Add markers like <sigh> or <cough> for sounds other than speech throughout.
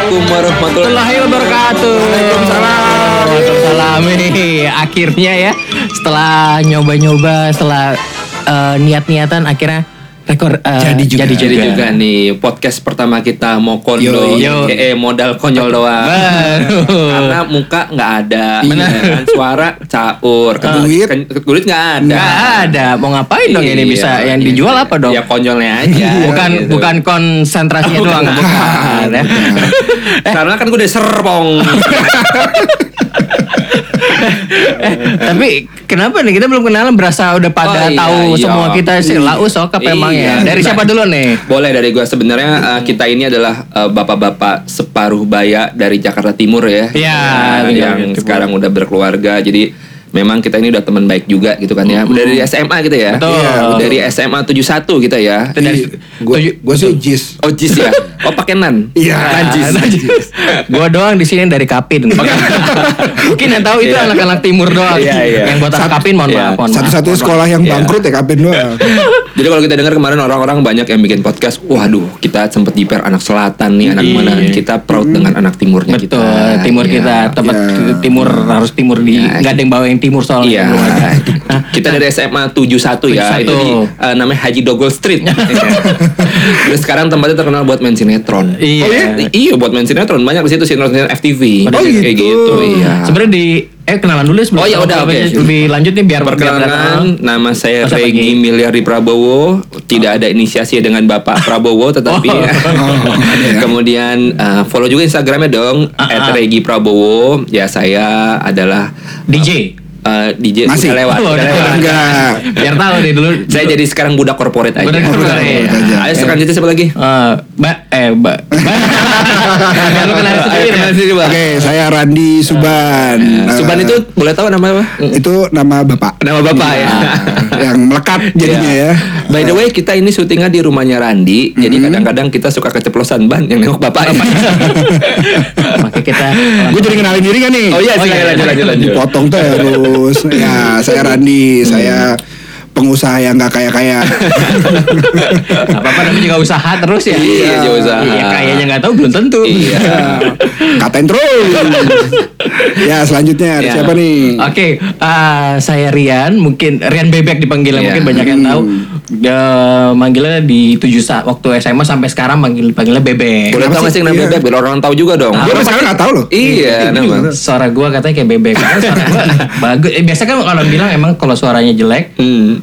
warahmatullahi Warahmatullahi wabarakatuh. Waalaikumsalam. Waalaikumsalam. Hei, Akhirnya ya setelah nyoba-nyoba setelah eh, niat-niatan akhirnya rekor eh, Jadi juga. Jadi, Jadi juga. juga nih podcast pertama kita mau kondo, Yo, yo. eh modal konyol doang. Baru. Karena muka nggak ada, Iya. Benar. ya kan? suara caur, Ke- Duit. ke- ke- duit nggak ada. Nggak ada. Mau ngapain dong ini Iya, bisa? Yang iya. dijual apa dong? Ya konyolnya aja. bukan gitu. bukan konsentrasinya Bukan, doang. bukan. <laughs> ya. Karena kan gue udah serpong. Eh, tapi kenapa nih kita belum kenalan berasa udah Oh, pada iya, tahu iya. semua kita sih laus sokap Iya. emang ya. Dari siapa dulu nih? Boleh dari gue sebenarnya eh, kita ini adalah eh, bapak-bapak separuh baya dari Jakarta Timur ya. Iya, Nah, benar, yang Timur. sekarang udah berkeluarga. Jadi memang kita ini udah teman baik juga gitu kan ya. Udah dari SMA gitu ya. Mm-hmm. Betul. Iya, dari SMA 71 kita ya. Gue Iya, sih jis. Oh jis ya. Oh pakai nan. Iya. Najis. Najis. Gua doang di sini dari <laughs> Kapin. Mungkin yang tahu itu Iya. anak-anak timur doang. Iya, iya. Yang buat Sat- Kapin mohon Iya. maaf, mohon maaf. Satu-satunya sekolah <laughs> yang Iya. bangkrut ya Kapin doang. Jadi kalau kita dengar kemarin orang-orang banyak yang bikin podcast, waduh kita sempet diper anak selatan nih, anak mana kita proud dengan anak timurnya Iya. Betul, kita. timur Iya. kita tempat Iya. timur harus timur di Iya. nggak ada yang bawa yang timur soalnya Iya. belum ada. Nah, <laughs> kita dari SMA 71 ya. 71. Itu di, eh, namanya Haji Dogol <laughs> Street. Iya. Terus sekarang tempatnya terkenal buat main sinetron. Iya. Oh, I- iya buat main sinetron banyak di situ sinetron FTV. Oh, Kayak gitu. gitu, iya. sebenarnya di eh kenalan dulu sebelum Oh, iya, udah, lebih, oke. lebih lanjut nih biar biar Perkenalkan, datang. nama saya Oh, siapa Regi Gi? Miliardi Prabowo. Tidak ada inisiasi dengan Bapak <laughs> Prabowo, tetapi Oh. <laughs> kemudian eh, follow juga Instagramnya dong, Ah, @regi Prabowo. Ya saya adalah DJ. eh, DJ Masih? sudah lewat. Oh, sudah udah. lewat. Enggak. biar tahu nih dulu Saya jadi sekarang budak korporat aja. Budak korporat, Iya. iya. Ayo selanjutnya siapa lagi? Eh, mbak eh <laughs> mbak mbak Biar lu kenal sendiri ya. Ayo, kenalin Mbak. sendiri, Bang. Oke, saya Randi Suban. Eh, Suban Iya. itu boleh tahu nama apa? itu nama bapak Iya. Nama bapak ya. <laughs> yang melekat jadinya Iya. ya. By the way, kita ini syutingnya di rumahnya Randi, jadi kadang-kadang kita suka keceplosan ban yang nengok bapak. Makanya kita Gue jadi kenalin diri kan nih? <laughs> oh iya, Oh, silakan iya. lanjut lanjut lanjut. Potong <laughs> terus. ya, saya Randi, saya pengusaha yang nggak <laughs> kaya-kaya. apa-apa namanya juga usaha terus ya. Iya, juga usaha. Iya, kayaknya nggak tahu belum tentu. Iya. Katain terus. ya, selanjutnya ada Ya. siapa nih? <laughs> Oke, ah, saya Rian, mungkin Rian Bebek dipanggilnya, Iya. mungkin banyak yang tahu. Eh, manggilnya di tujuh saat waktu SMA sampai sekarang manggil panggilnya Bebek. Boleh Kenapa tahu nggak sih? sih nama Iya. bebek? Biar orang tahu juga dong. Gue Orang- sekarang nggak tahu loh. Iya, nama. Suara gua katanya kayak bebek. Padahal Suara <laughs> gua bagus. Eh, biasa kan kalau bilang emang kalau suaranya jelek, Hmm.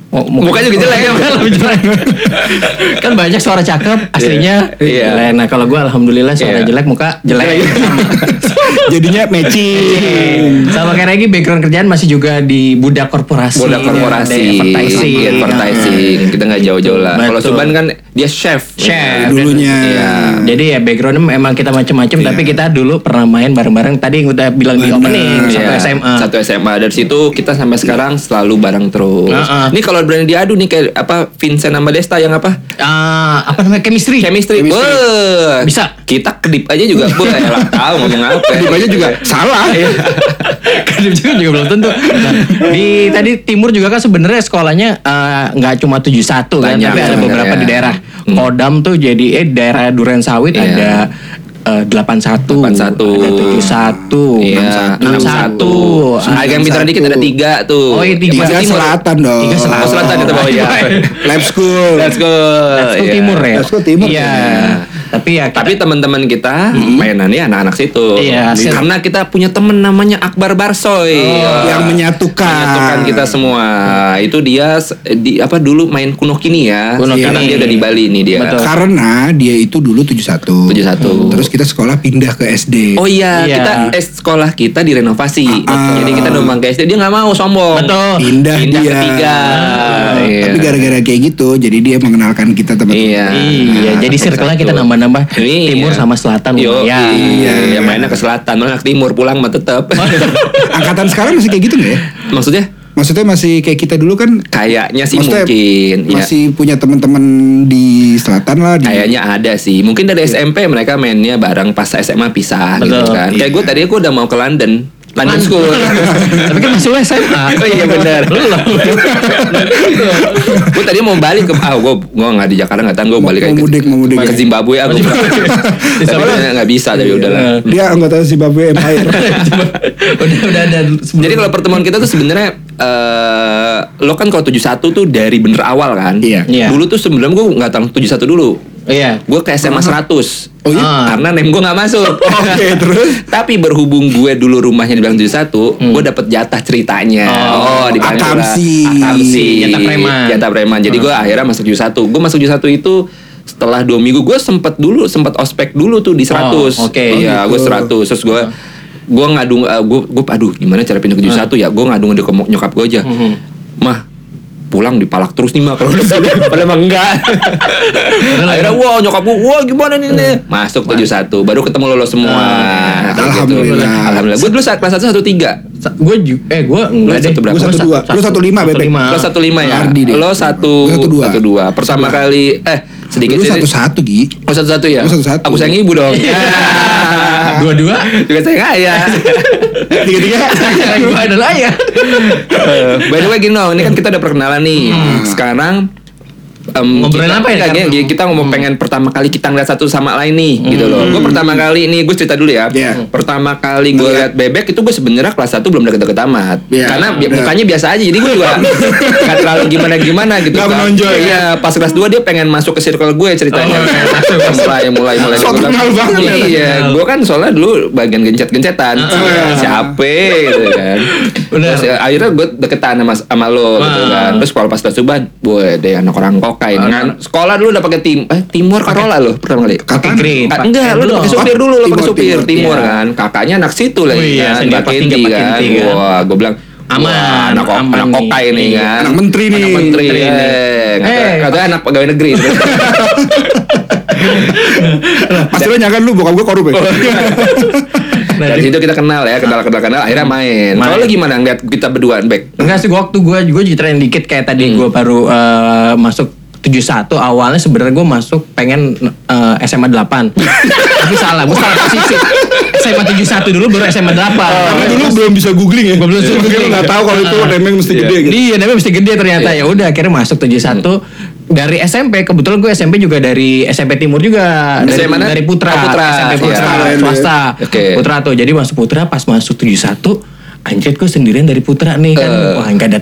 mu- Mukanya juga jelek, ya? <laughs> Mukanya lebih jelek. kan banyak suara cakep aslinya. Iya. Iya. jelek. Nah, kalau gua alhamdulillah suara Iya. jelek, muka <laughs> jelek. <laughs> Jadinya matching. Iya. Sama kayak Regi background kerjaan masih juga di budak korporasi. Bola korporasi, Di advertising. Iya, advertising. Kita nggak jauh-jauh lah. Kalau Betul. Suban kan dia chef. Chef. Dulunya. Iya. Jadi ya backgroundnya emang kita macam-macam, tapi kita dulu pernah main bareng-bareng. Tadi yang udah bilang di Bener. opening satu Iya, SMA. Satu SMA dari situ kita sampai sekarang selalu bareng terus. Heeh. Ini kalau berani diadu nih kayak apa Vincent sama Desta yang apa? Ah, apa namanya chemistry? Chemistry. Wah. Bisa. Kita kedip aja juga. Boleh lah tahu ngomong apa. Kedip aja juga salah. Iya. <laughs> Kadang Iya. Kan juga, juga belum tentu. Nah, di tadi timur juga kan sebenarnya sekolahnya eh, nggak cuma 71 kan, Banyak tapi ada sebenarnya. beberapa di daerah Hmm. Kodam tuh jadi eh daerah Duren Sawit Iya. ada eh, 81, 81. ada 71, Iya, 61, 61. Agak yang pintar dikit ada 3 tuh. Oh, iya, tiga. Yang Tiga timur. selatan dong. Tiga Oh, selatan kita bawa ya. Lab school. Let's go. School Iya. timur ya. School timur. Iya. Tapi ya kita- Tapi teman-teman kita mainannya anak-anak situ. Iya, Di- sip. Karena kita punya teman namanya Akbar Barsoy. Wah. yang menyatukan. Menyatukan kita semua. Itu dia s- di apa dulu main kuno kini ya. Kuno Sekarang kini. dia udah di Bali nih dia. Betul. Karena dia itu dulu 71. 71. Terus kita sekolah pindah ke SD. Oh iya, Iya. kita eh, sekolah kita direnovasi. Ah. Jadi kita numpang ke SD dia nggak mau sombong. Betul. pindah, Pindah dia. Ah, ketiga. Iya. Tapi gara-gara kayak gitu, jadi dia mengenalkan kita teman-teman. Iya. Iya, jadi circle-nya kita nambah-nambah Iya. timur sama selatan. Yo, lumayan. iya. Ya, mainnya ke selatan, malah ke timur pulang mah tetap. Angkatan sekarang masih kayak gitu nggak ya? Maksudnya Maksudnya masih kayak kita dulu kan? kayaknya sih Maksudnya mungkin ya. masih punya teman-teman di selatan lah. Di, Kayaknya ada sih. Mungkin dari SMP mereka mainnya bareng pas SMA pisah gitu Betul. kan. Kayak gue tadi gue udah mau ke London. London School. Tapi kan masih lu SMA. <laughs> Oh iya, benar. Lu loh. gue tadi mau balik ke ah gue gue nggak di Jakarta nggak tahu gue Mau- balik mau ke- mudik, mau mudik. ke Zimbabwe aku <laughs> tapi ternyata nggak bisa dari udahlah Dia anggota Zimbabwe Empire. <laughs> Udah udah ada sebelum- Jadi kalau pertemuan kita tuh sebenarnya eh lo kan kalau 71 tuh dari bener awal kan? Iya. Iya. Dulu tuh sebelum gue nggak tahu 71 dulu. Iya. Gue ke SMA 100. Oh iya? Ah, Karena name gue nggak <laughs> masuk. Oke, terus? <laughs> Tapi berhubung gue dulu rumahnya di Bilang 71, Hmm. gue dapet jatah ceritanya. Oh, di Bilang Akamsi. Jura. Akamsi. Jatah preman. Hmm. Jatah preman. Jadi gue akhirnya masuk 71. Gue masuk 71 itu setelah dua minggu gue sempet dulu sempet ospek dulu tuh di 100 Oh, Hmm. oke. iya Oh, gue gitu. 100 terus gue gue ngadu gue gue aduh gimana cara pindah ke tujuh satu ya gue ngadu ngadu ke mo- nyokap gue aja Mhm. mah pulang dipalak terus nih mah <laughs> kalau udah sini padahal emang enggak <laughs> akhirnya wow nyokap gue wow gimana nih nih Hmm. masuk tujuh satu baru ketemu lo, lo semua Ah, Kayak alhamdulillah. alhamdulillah gue dulu saat kelas satu satu tiga Gue juga eh gue enggak Lu deh. satu berapa? Gua Lu satu dua. sa- Lu satu lima, Bebek. lo Ah. satu lima ya Ardi deh. lo satu Satu dua. satu dua pertama kali eh <laughs> sedikit Lu sedikit. satu-satu, Gi. Oh satu-satu ya? Lu satu-satu. Aku sayang ibu dong. <laughs> Ah, Dua-dua. Juga sayang ayah. Tiga-tiga. <laughs> Gue adalah ya. Eh, By the way Gino, ini kan kita udah perkenalan nih. Hmm. Sekarang em, Ngobrolin kita- apa ya, kayaknya Kak? Kita, ngomong Hmm. pengen pertama kali kita ngeliat satu sama lain nih, gitu loh. Gue pertama Hmm. kali nih, gue cerita dulu ya. Iya. Pertama kali gue liat bebek itu gue sebenarnya kelas 1 belum deket-deket amat. Iya, Karena bi- udah. mukanya biasa aja, jadi gue juga <laughs> nggak terlalu gimana-gimana gitu. Nggak Kak. menonjol, ya? Oh, Iya, pas kelas 2 dia pengen masuk ke circle gue ceritanya. mulai, mulai, mulai. Sok Gua bilang, kenal banget Ah, ya, Iya, kenal. gue kan soalnya dulu bagian gencet-gencetan. iya. Siapa gitu kan. Bener. Terus, eh, akhirnya gue deketan sama, sama lo gitu Wah. kan terus kalau pas ke Subhan gue deh anak orang Ah. kokai dengan sekolah dulu udah pakai tim eh timur karola lo pertama kali Pakai Kapan? grade, Ka- pakai enggak lu udah pakai blok. supir dulu lo pakai Timur, supir timur, timur iya. kan kakaknya anak situ lagi Oh iya, kan sendiri, Mbak Pak Kendi Kendi, Pak kan Kendi, kan. wah gue bilang Aman, wah, anak, ko- aman anak nih. kokai nih Iya. kan Anak menteri nih. anak menteri Menteri nih. eh Eh. kata anak pegawai <laughs> negeri Pasti lo nyangka lu bokap gue korup Oh. ya? dari Nah, situ kita kenal ya kenal kenal kenal akhirnya main Main. kalau lu gimana ngeliat kita berduaan back Enggak sih, gua waktu gue gue ceritain dikit kayak Hmm. tadi gua baru eh, masuk 71 awalnya sebenarnya gue masuk pengen eh, <laughs> SMA 8 tapi salah gue salah posisi SMA 71 dulu baru SMA 8 Oh. Karena dulu belum bisa googling ya. Gua belum bisa Mungkin lo googling. nggak tahu kalau itu remeng mesti gede gitu. Iya, namanya mesti gede ternyata. Iya. Ya udah akhirnya masuk 71 Hmm. dari SMP. Kebetulan gue SMP juga dari SMP Timur juga. Dari, SMP mana? dari Putra. Oh, Putra. SMP Putra Iya. swasta. Oke. Putra tuh. Jadi masuk Putra pas masuk 71 Anjir gue sendirian dari Putra nih kan Eh. Wah gak ada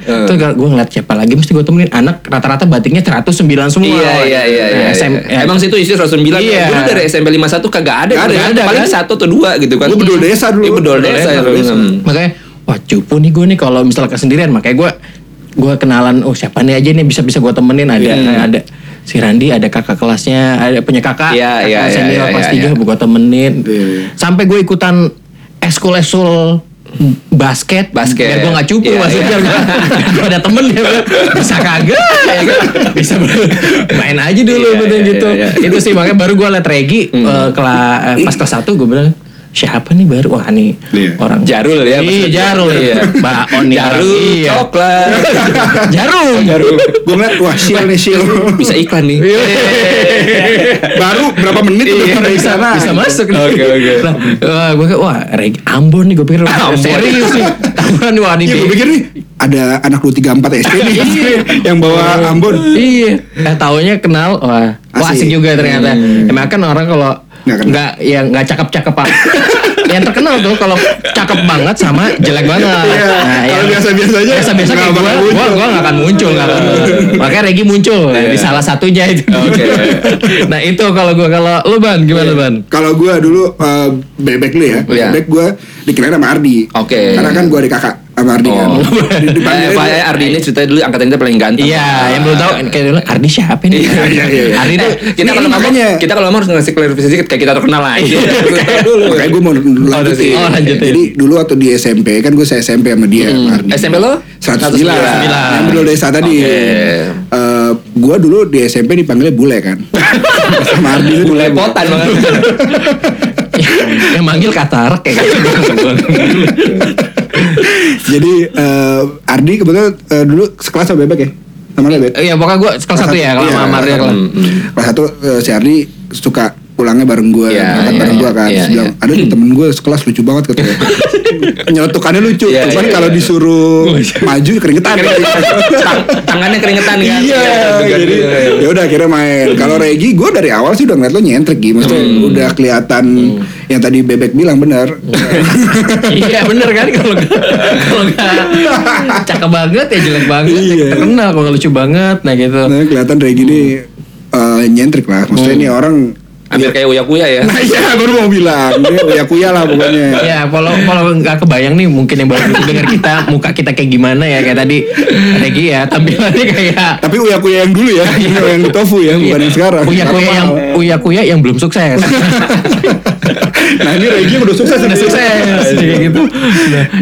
Eh. Terus gue ngeliat siapa lagi Mesti gue temenin Anak rata-rata batiknya 109 semua Iya Nah, iya iya. iya, SM iya. Emang situ isi 109 Iya. Dulu dari SMP 51 kagak ada. Nggak ada, gitu kan. ada, Paling kan? satu atau dua gitu kan. Gua bedol desa dulu. Iya, bedol desa. Bedol desa. Hmm. makanya wah cupu nih gue nih kalau misalnya kesendirian makanya gue gue kenalan oh siapa nih aja nih bisa bisa gue temenin ada Hmm. ada si Randi ada kakak kelasnya ada punya kakak Iya, kakak iya, iya, senior iya, kelas iya, tiga iya. gue temenin Iya, iya. sampai gue ikutan eskul eskul basket Basket. biar gue nggak cupu Iya, maksudnya iya. Biar gue ada temen ya gua. bisa kagak ya kan? bisa main aja dulu Iya, betul iya, gitu iya, iya. Hmm. itu sih makanya baru gue liat Regi eh, kela- eh, pas kelas satu gue bilang siapa nih baru wah nih Iya. orang Jarul ya, iya maksudnya. jarul Iya. baon nih orang. Jarum, iya. <laughs> coklat. <laughs> Oh, jarum Gue ngeliat, wah sial nih sial. Bisa iklan nih. Iya. Baru berapa menit udah Iya, ada di bisa, sana. bisa masuk nih. Iya, Oke, oke. Nah, wah, gue kayak, wah, Regi Ambon nih, gue pikir Ambon. serius <laughs> nih. Ambon nih, wah, ini Iya gue pikir nih ada anak lu 34 SD nih <laughs> yang bawa Ambon. Iya. Eh taunya kenal wah, wah asik Asik. Iya, juga ternyata. Emang kan orang kalau Nggak kenal. nggak ya nggak cakep-cakep <laughs> apa. yang terkenal tuh kalau cakep banget sama jelek banget. Iya, kalau yang biasa-biasa aja Biasa-biasa nggak kayak gua, gua, bakal muncul. Iya. gua nggak akan muncul nggak akan <laughs> muncul. Makanya Regi muncul nah, di salah satunya itu. Oke. <laughs> nah itu kalau gua kalau lu ban gimana Iya. ban? Kalau gue dulu eh, bebek lu ya, Iya. bebek gue dikirain sama Ardi. Oke. Karena kan gue ada kakak sama Ardi kan. Oh. Di- Eh, dipanggilnya Pak dia- Ardi ini cerita dulu angkatan kita paling ganteng. Iya, yang belum tahu kayak dulu Ardi siapa nih? <laughs> Iya, iya, iya. Ardi Ini tuh kita ini kalau ngomong makanya- kita kalau ngomong harus ngasih klarifikasi dikit kayak kita terkenal lah. Iya. <laughs> dulu. Makanya gue mau lanjutin. Oh, lanjutin. Jadi dulu waktu di SMP kan gue se SMP sama dia. Hmm. sama Ardi. SMP lo? 109. 109. Yang dulu desa tadi. Oke. Eh, gue dulu di SMP dipanggilnya bule <laughs> kan. sama Ardi itu Mulai potan banget. <laughs> yang manggil katarak kayak gitu. Jadi eh, Ardi kebetulan eh, dulu sekelas sama bebek ya. Sama lo, bebek. Eh, Eh, Iya pokoknya gue kelas satu ya kalau iya. sama Mario kelas. Kelas satu eh, si Ardi suka pulangnya bareng gue, Iya, berangkat iya, bareng gue kan. iya, Terus bilang, ada nih temen gue sekelas lucu banget <laughs> katanya. Nyelotukannya lucu, Iya, cuman iya, kalau iya. disuruh maju keringetan. <laughs> Tang- tangannya keringetan kan Iya, jadi ya udah akhirnya main. Kalau Regi, gue dari awal sih udah ngeliat lo nyentrik gitu, maksudnya udah kelihatan yang tadi bebek bilang bener. <laughs> iya bener kan kalau nggak- kalau nggak cakep banget ya jelek banget ya Iya. terkenal kalau nggak lucu banget nah gitu Nah, kelihatan Regi ini eh, nyentrik lah, maksudnya ini orang. hampir kayak uya kuya ya Nah, iya, baru mau bilang, dia uya-kuya lah <laughs> pokoknya. Ya, kalau kalau nggak kebayang nih mungkin yang baru dengar kita muka kita kayak gimana ya kayak tadi Regi ya tampilannya kayak Iya. Tapi uya-kuya yang dulu ya, uya <laughs> yang di tofu ya, bukan yang sekarang. Iya. Uya kuya yang uya kuya yang belum sukses. <laughs> nah ini Regi yang udah sukses Udah sukses kayak gitu.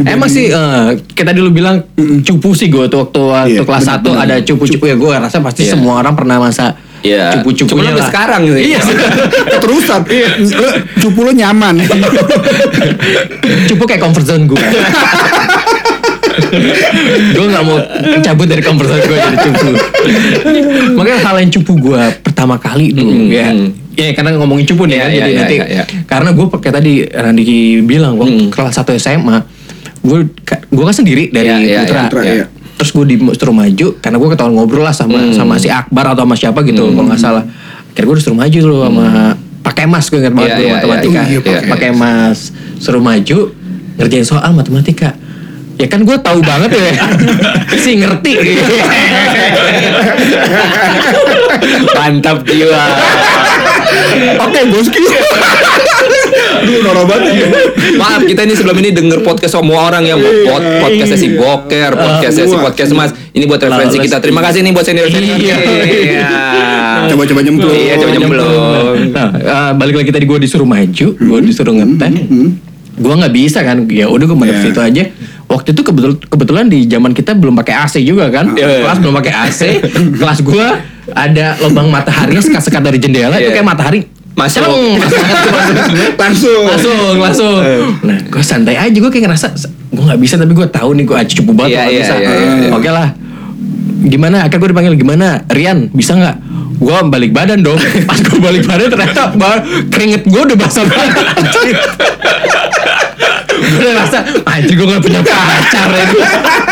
Emang sih eh, kayak tadi lu bilang cupu sih gue tuh waktu waktu Iya, kelas 1 ada cupu-cupu ya gue rasa pasti Iya. semua orang pernah masa Iya. Cuman cupu-cupunya sampai lah. sekarang gitu ya. Iya. <laughs> keterusan Lo, cupu lo <laughs> nyaman cupu kayak comfort zone gue. gue nggak mau cabut dari comfort zone gue jadi cupu. Makanya hal yang cupu gue pertama kali tuh Mm, ya. mm. Ya karena ngomongin cupu nih Iya, kan, iya, jadi iya, nanti iya, iya. karena gue pakai tadi Randiki bilang Mm. waktu kelas 1 SMA gue gue kan sendiri dari Iya, iya, putra. iya, Putra, iya. Terus gue disuruh maju karena gue ketahuan ngobrol lah sama Hmm. sama si Akbar atau sama siapa gitu kalau nggak salah. Akhirnya gue disuruh maju tuh sama pakai mas gue ingat banget Hmm. Iya, dulu iya, iya. matematika Iya, pakai mas. pakai mas suruh maju ngerjain soal matematika ya kan gue tahu banget <laughs> ya sih ngerti mantap jiwa oke bosku lu norak banget ya. maaf kita ini sebelum ini denger podcast semua orang yang buat Iya. podcastnya si Boker podcastnya si Wah. podcast Mas ini buat referensi Lalu- kita terima kasih nih buat senior senior Iya. coba-coba nyemplung Iya, coba nyemplung. nah eh, balik lagi tadi gue disuruh maju Hmm. gue disuruh ngetem gue nggak bisa kan ya udah gue madep Iya. situ aja waktu itu kebetul kebetulan di zaman kita belum pakai AC juga kan Iya. kelas belum pakai AC <laughs> kelas gue ada lubang mataharinya sekat-sekat dari jendela itu Iya. kayak matahari Masuk. cereng, <laughs> langsung langsung <laughs> langsung nah gue santai aja gue kayak ngerasa gue nggak bisa tapi gue tahu nih gue aja cupu banget Iya, nggak iya, bisa iya, iya, iya. oke lah gimana akhirnya gue dipanggil gimana Rian bisa nggak gue balik badan <laughs> dong pas gue balik badan ternyata ba- keringet gue udah basah banget gue udah rasa anjir gue gak punya pacar ya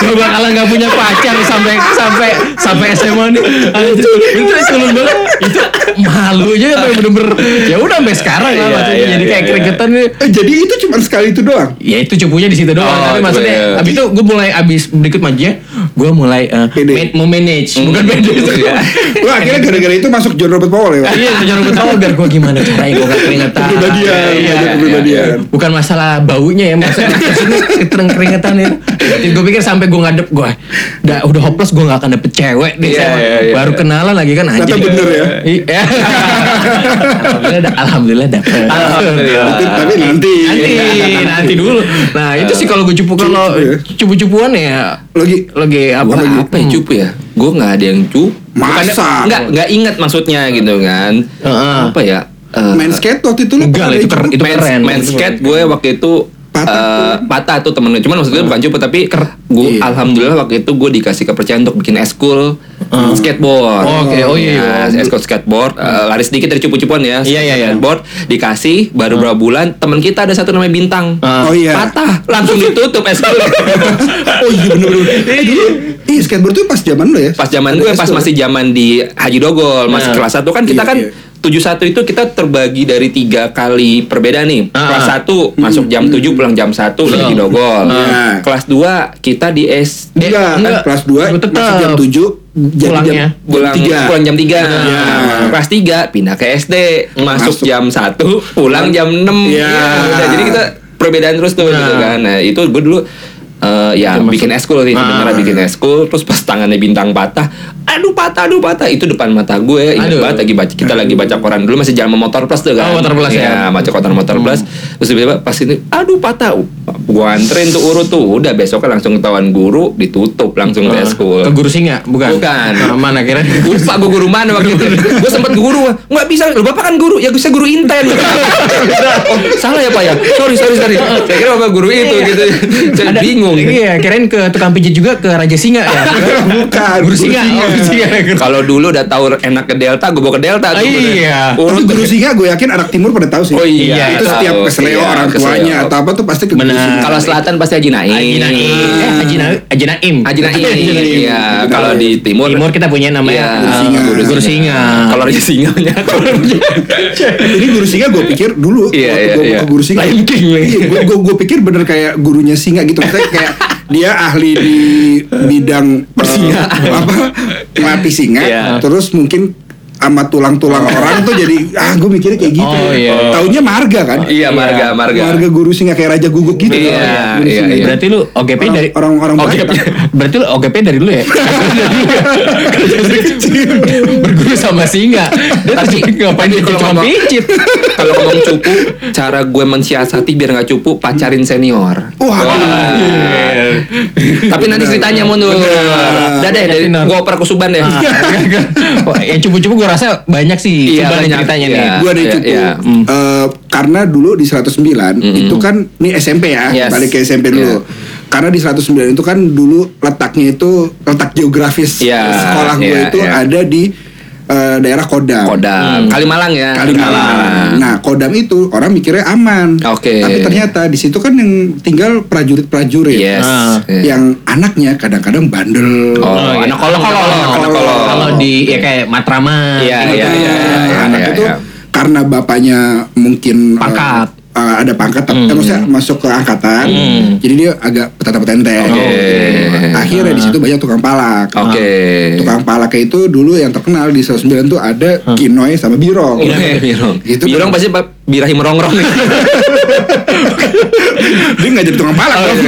gue bakalan gak punya pacar sampai sampai sampai SMA nih anjir itu culun banget itu malunya apa yang bener-bener ya udah sampai sekarang lah Iya, maksudnya iya, jadi kayak iya, keringetan nih Eh, jadi itu cuma sekali itu doang ya itu cupunya di situ doang Oh, tapi itu maksudnya ya. abis itu gue mulai abis berikut majunya gue mulai eh, Pede. ma- mau manage bukan manage Iya. lu akhirnya gara-gara itu masuk John Robert Powell ya Pak? <laughs> iya secara betul biar gue gimana caranya gue gak keringetan kepribadian Iya, banyak iya, kepribadian bukan masalah baunya ya maksudnya maksudnya ketereng keringetan ya gue pikir sampai gue ngadep gue udah udah hopeless gue gak akan dapet cewek deh Iya, sama. iya, iya. baru kenalan lagi kan anjing Ternyata bener ya. Iya. <laughs> alhamdulillah da- alhamdulillah dapet Alhamdulillah. Tapi- tapi nanti <laughs> nanti nanti dulu nah itu sih kalau gue cupu kalau Cupu ya. cupu-cupuan ya lagi lagi apa Apa, apa ya cupu ya? Gue nggak ada yang cupu. Nah. Masa? Nggak nggak ingat maksudnya gitu kan? Heeh. Apa ya? Eh, main skate waktu itu lu Enggak lah, itu keren. pakai Itu main, keren. main skate gue waktu itu Patah. eh, patah tuh temen gue. Cuman maksudnya bukan cupu tapi gue Iya. alhamdulillah waktu itu gue dikasih kepercayaan untuk bikin eskul skateboard. Oke, oh iya. Ya, eskul skateboard eh, lari sedikit dari cupu-cupuan ya. Iya, iya, iya. Skateboard dikasih baru berapa bulan temen kita ada satu namanya Bintang. Ah. Oh, iya. Patah, langsung ditutup <laughs> eskul. oh iya bener-bener Eh, dulu iya skateboard tuh pas zaman lu ya pas zaman gue pas masih zaman di Haji Dogol masih Nah. kelas 1 kan kita Iya, kan iya. 71 itu kita terbagi dari tiga kali perbedaan nih. Ah, Oh. Kelas ah. 1 masuk jam Hmm. 7 pulang jam 1 di Haji Dogol. Ah. Kelas 2 kita di S Enggak, kan enggak. kelas 2 Tetep. masih jam 7 jadi Pulangnya. jam pulang tiga. pulang jam 3. Iya. Kelas 3 pindah ke SD, masuk, Masuk. jam 1, pulang jam 6. Iya. udah. jadi kita perbedaan terus tuh gitu kan. Nah, itu gue dulu eh, ya Itu masuk. bikin eskul sih sebenarnya Ah. bikin eskul terus pas tangannya bintang patah aduh patah aduh patah itu depan mata gue ingat Aduh. banget lagi baca kita lagi baca koran dulu masih jalan sama motor plus tuh kan Oh, motor plus Iya, ya. baca koran motor plus terus tiba-tiba pas ini aduh patah gua anterin tuh urut tuh udah besoknya langsung ketahuan guru ditutup langsung Eh, school Ke guru singa? Bukan. Bukan. Nah, mana kira? lupa gue guru mana waktu itu gue sempet guru nggak bisa lu bapak kan guru ya gue guru inten oh, salah ya pak ya sorry sorry sorry saya kira bapak guru itu gitu saya bingung Iya, kirain ke tukang pijit juga ke Raja Singa ya. Nah, <laughs> Bukan. Guru singa. Oh, guru singa. kalau dulu udah tahu enak ke delta gue bawa ke delta tuh Oh, Iya. Tapi urut guru singa gue yakin anak timur pada tahu sih. Oh iya, Itu tahu. setiap keseleo Iya, orang keseleo. tuanya atau apa tuh pasti ke guru Benar. singa. kalau selatan pasti Haji Naim Haji Naim. Eh, Haji Naim. Haji Naim. Haji Naim Haji Naim. iya kalau di timur Timur kita punya namanya Iya, guru singa. eh, Guru singa. kalau di singanya Ini guru singa gue pikir dulu Iya, waktu iya, gue iya. ke guru singa. Lion King lagi. Iya, gue gue gue pikir bener kayak gurunya singa gitu. Maksudnya kayak dia ahli di bidang persinga apa pelatih singa. Iya. Oh. Terus mungkin sama tulang-tulang orang tuh jadi ah gue mikirnya kayak gitu. Oh, iya. Taunya marga kan? iya marga marga Marga guru singa kayak raja guguk gitu. Iya, kan, guru iya, singa. iya. Berarti lu OGP Orang- dari orang-orang OGP. banyak. <laughs> Berarti lu OGP dari dulu <laughs> ya? Dari kecil. Berguru sama singa. Dia Tapi- tapi ngapain tapi dia kalau cuma ngomong- <laughs> pijit? <laughs> kalau ngomong cupu cara gue mensiasati biar nggak cupu pacarin senior Wah. Iya. tapi nanti ceritanya mundur udah deh dari- Bener. gue oper ke Suban ya. deh Iya, Nah. Wah, Yang cupu-cupu gue rasa banyak sih. Iya, Coba nih banyak. ceritanya Iya. nih. gue ada Iya, cukup iya. Mm. Eh, karena dulu di 109 itu kan ini SMP ya Yes. balik ke SMP dulu Iya. karena di 109 itu kan dulu letaknya itu letak geografis Iya, sekolah gue iya, itu iya. ada di eh, daerah Kodam, Hmm. Kodam Kalimalang ya Kalimalang. Nah Kodam itu orang mikirnya aman, Oke. tapi ternyata di situ kan yang tinggal prajurit-prajurit yes Ah. Iya. yang anaknya kadang-kadang bandel. Oh, Oh, iya. anak kolong, anak kolong, anak kolong. Kalau di ya kayak Matraman. Iya, gitu. iya, iya, Nah, iya, anak iya, itu iya. karena bapaknya mungkin eh, Pangkat. eh, ada pangkat Hmm. tapi eh, maksudnya masuk ke angkatan jadi dia agak petata petenteng Oke. akhirnya di situ banyak tukang palak Oke. Ah. tukang palak itu dulu yang terkenal di 109 tuh ada Kinoy sama Birong Oke, Hmm. Iya. Birong. Itu Iya, Birong kan- pasti pa- birahi merongrong. dia nggak jadi tukang Oh, palak dong. iya.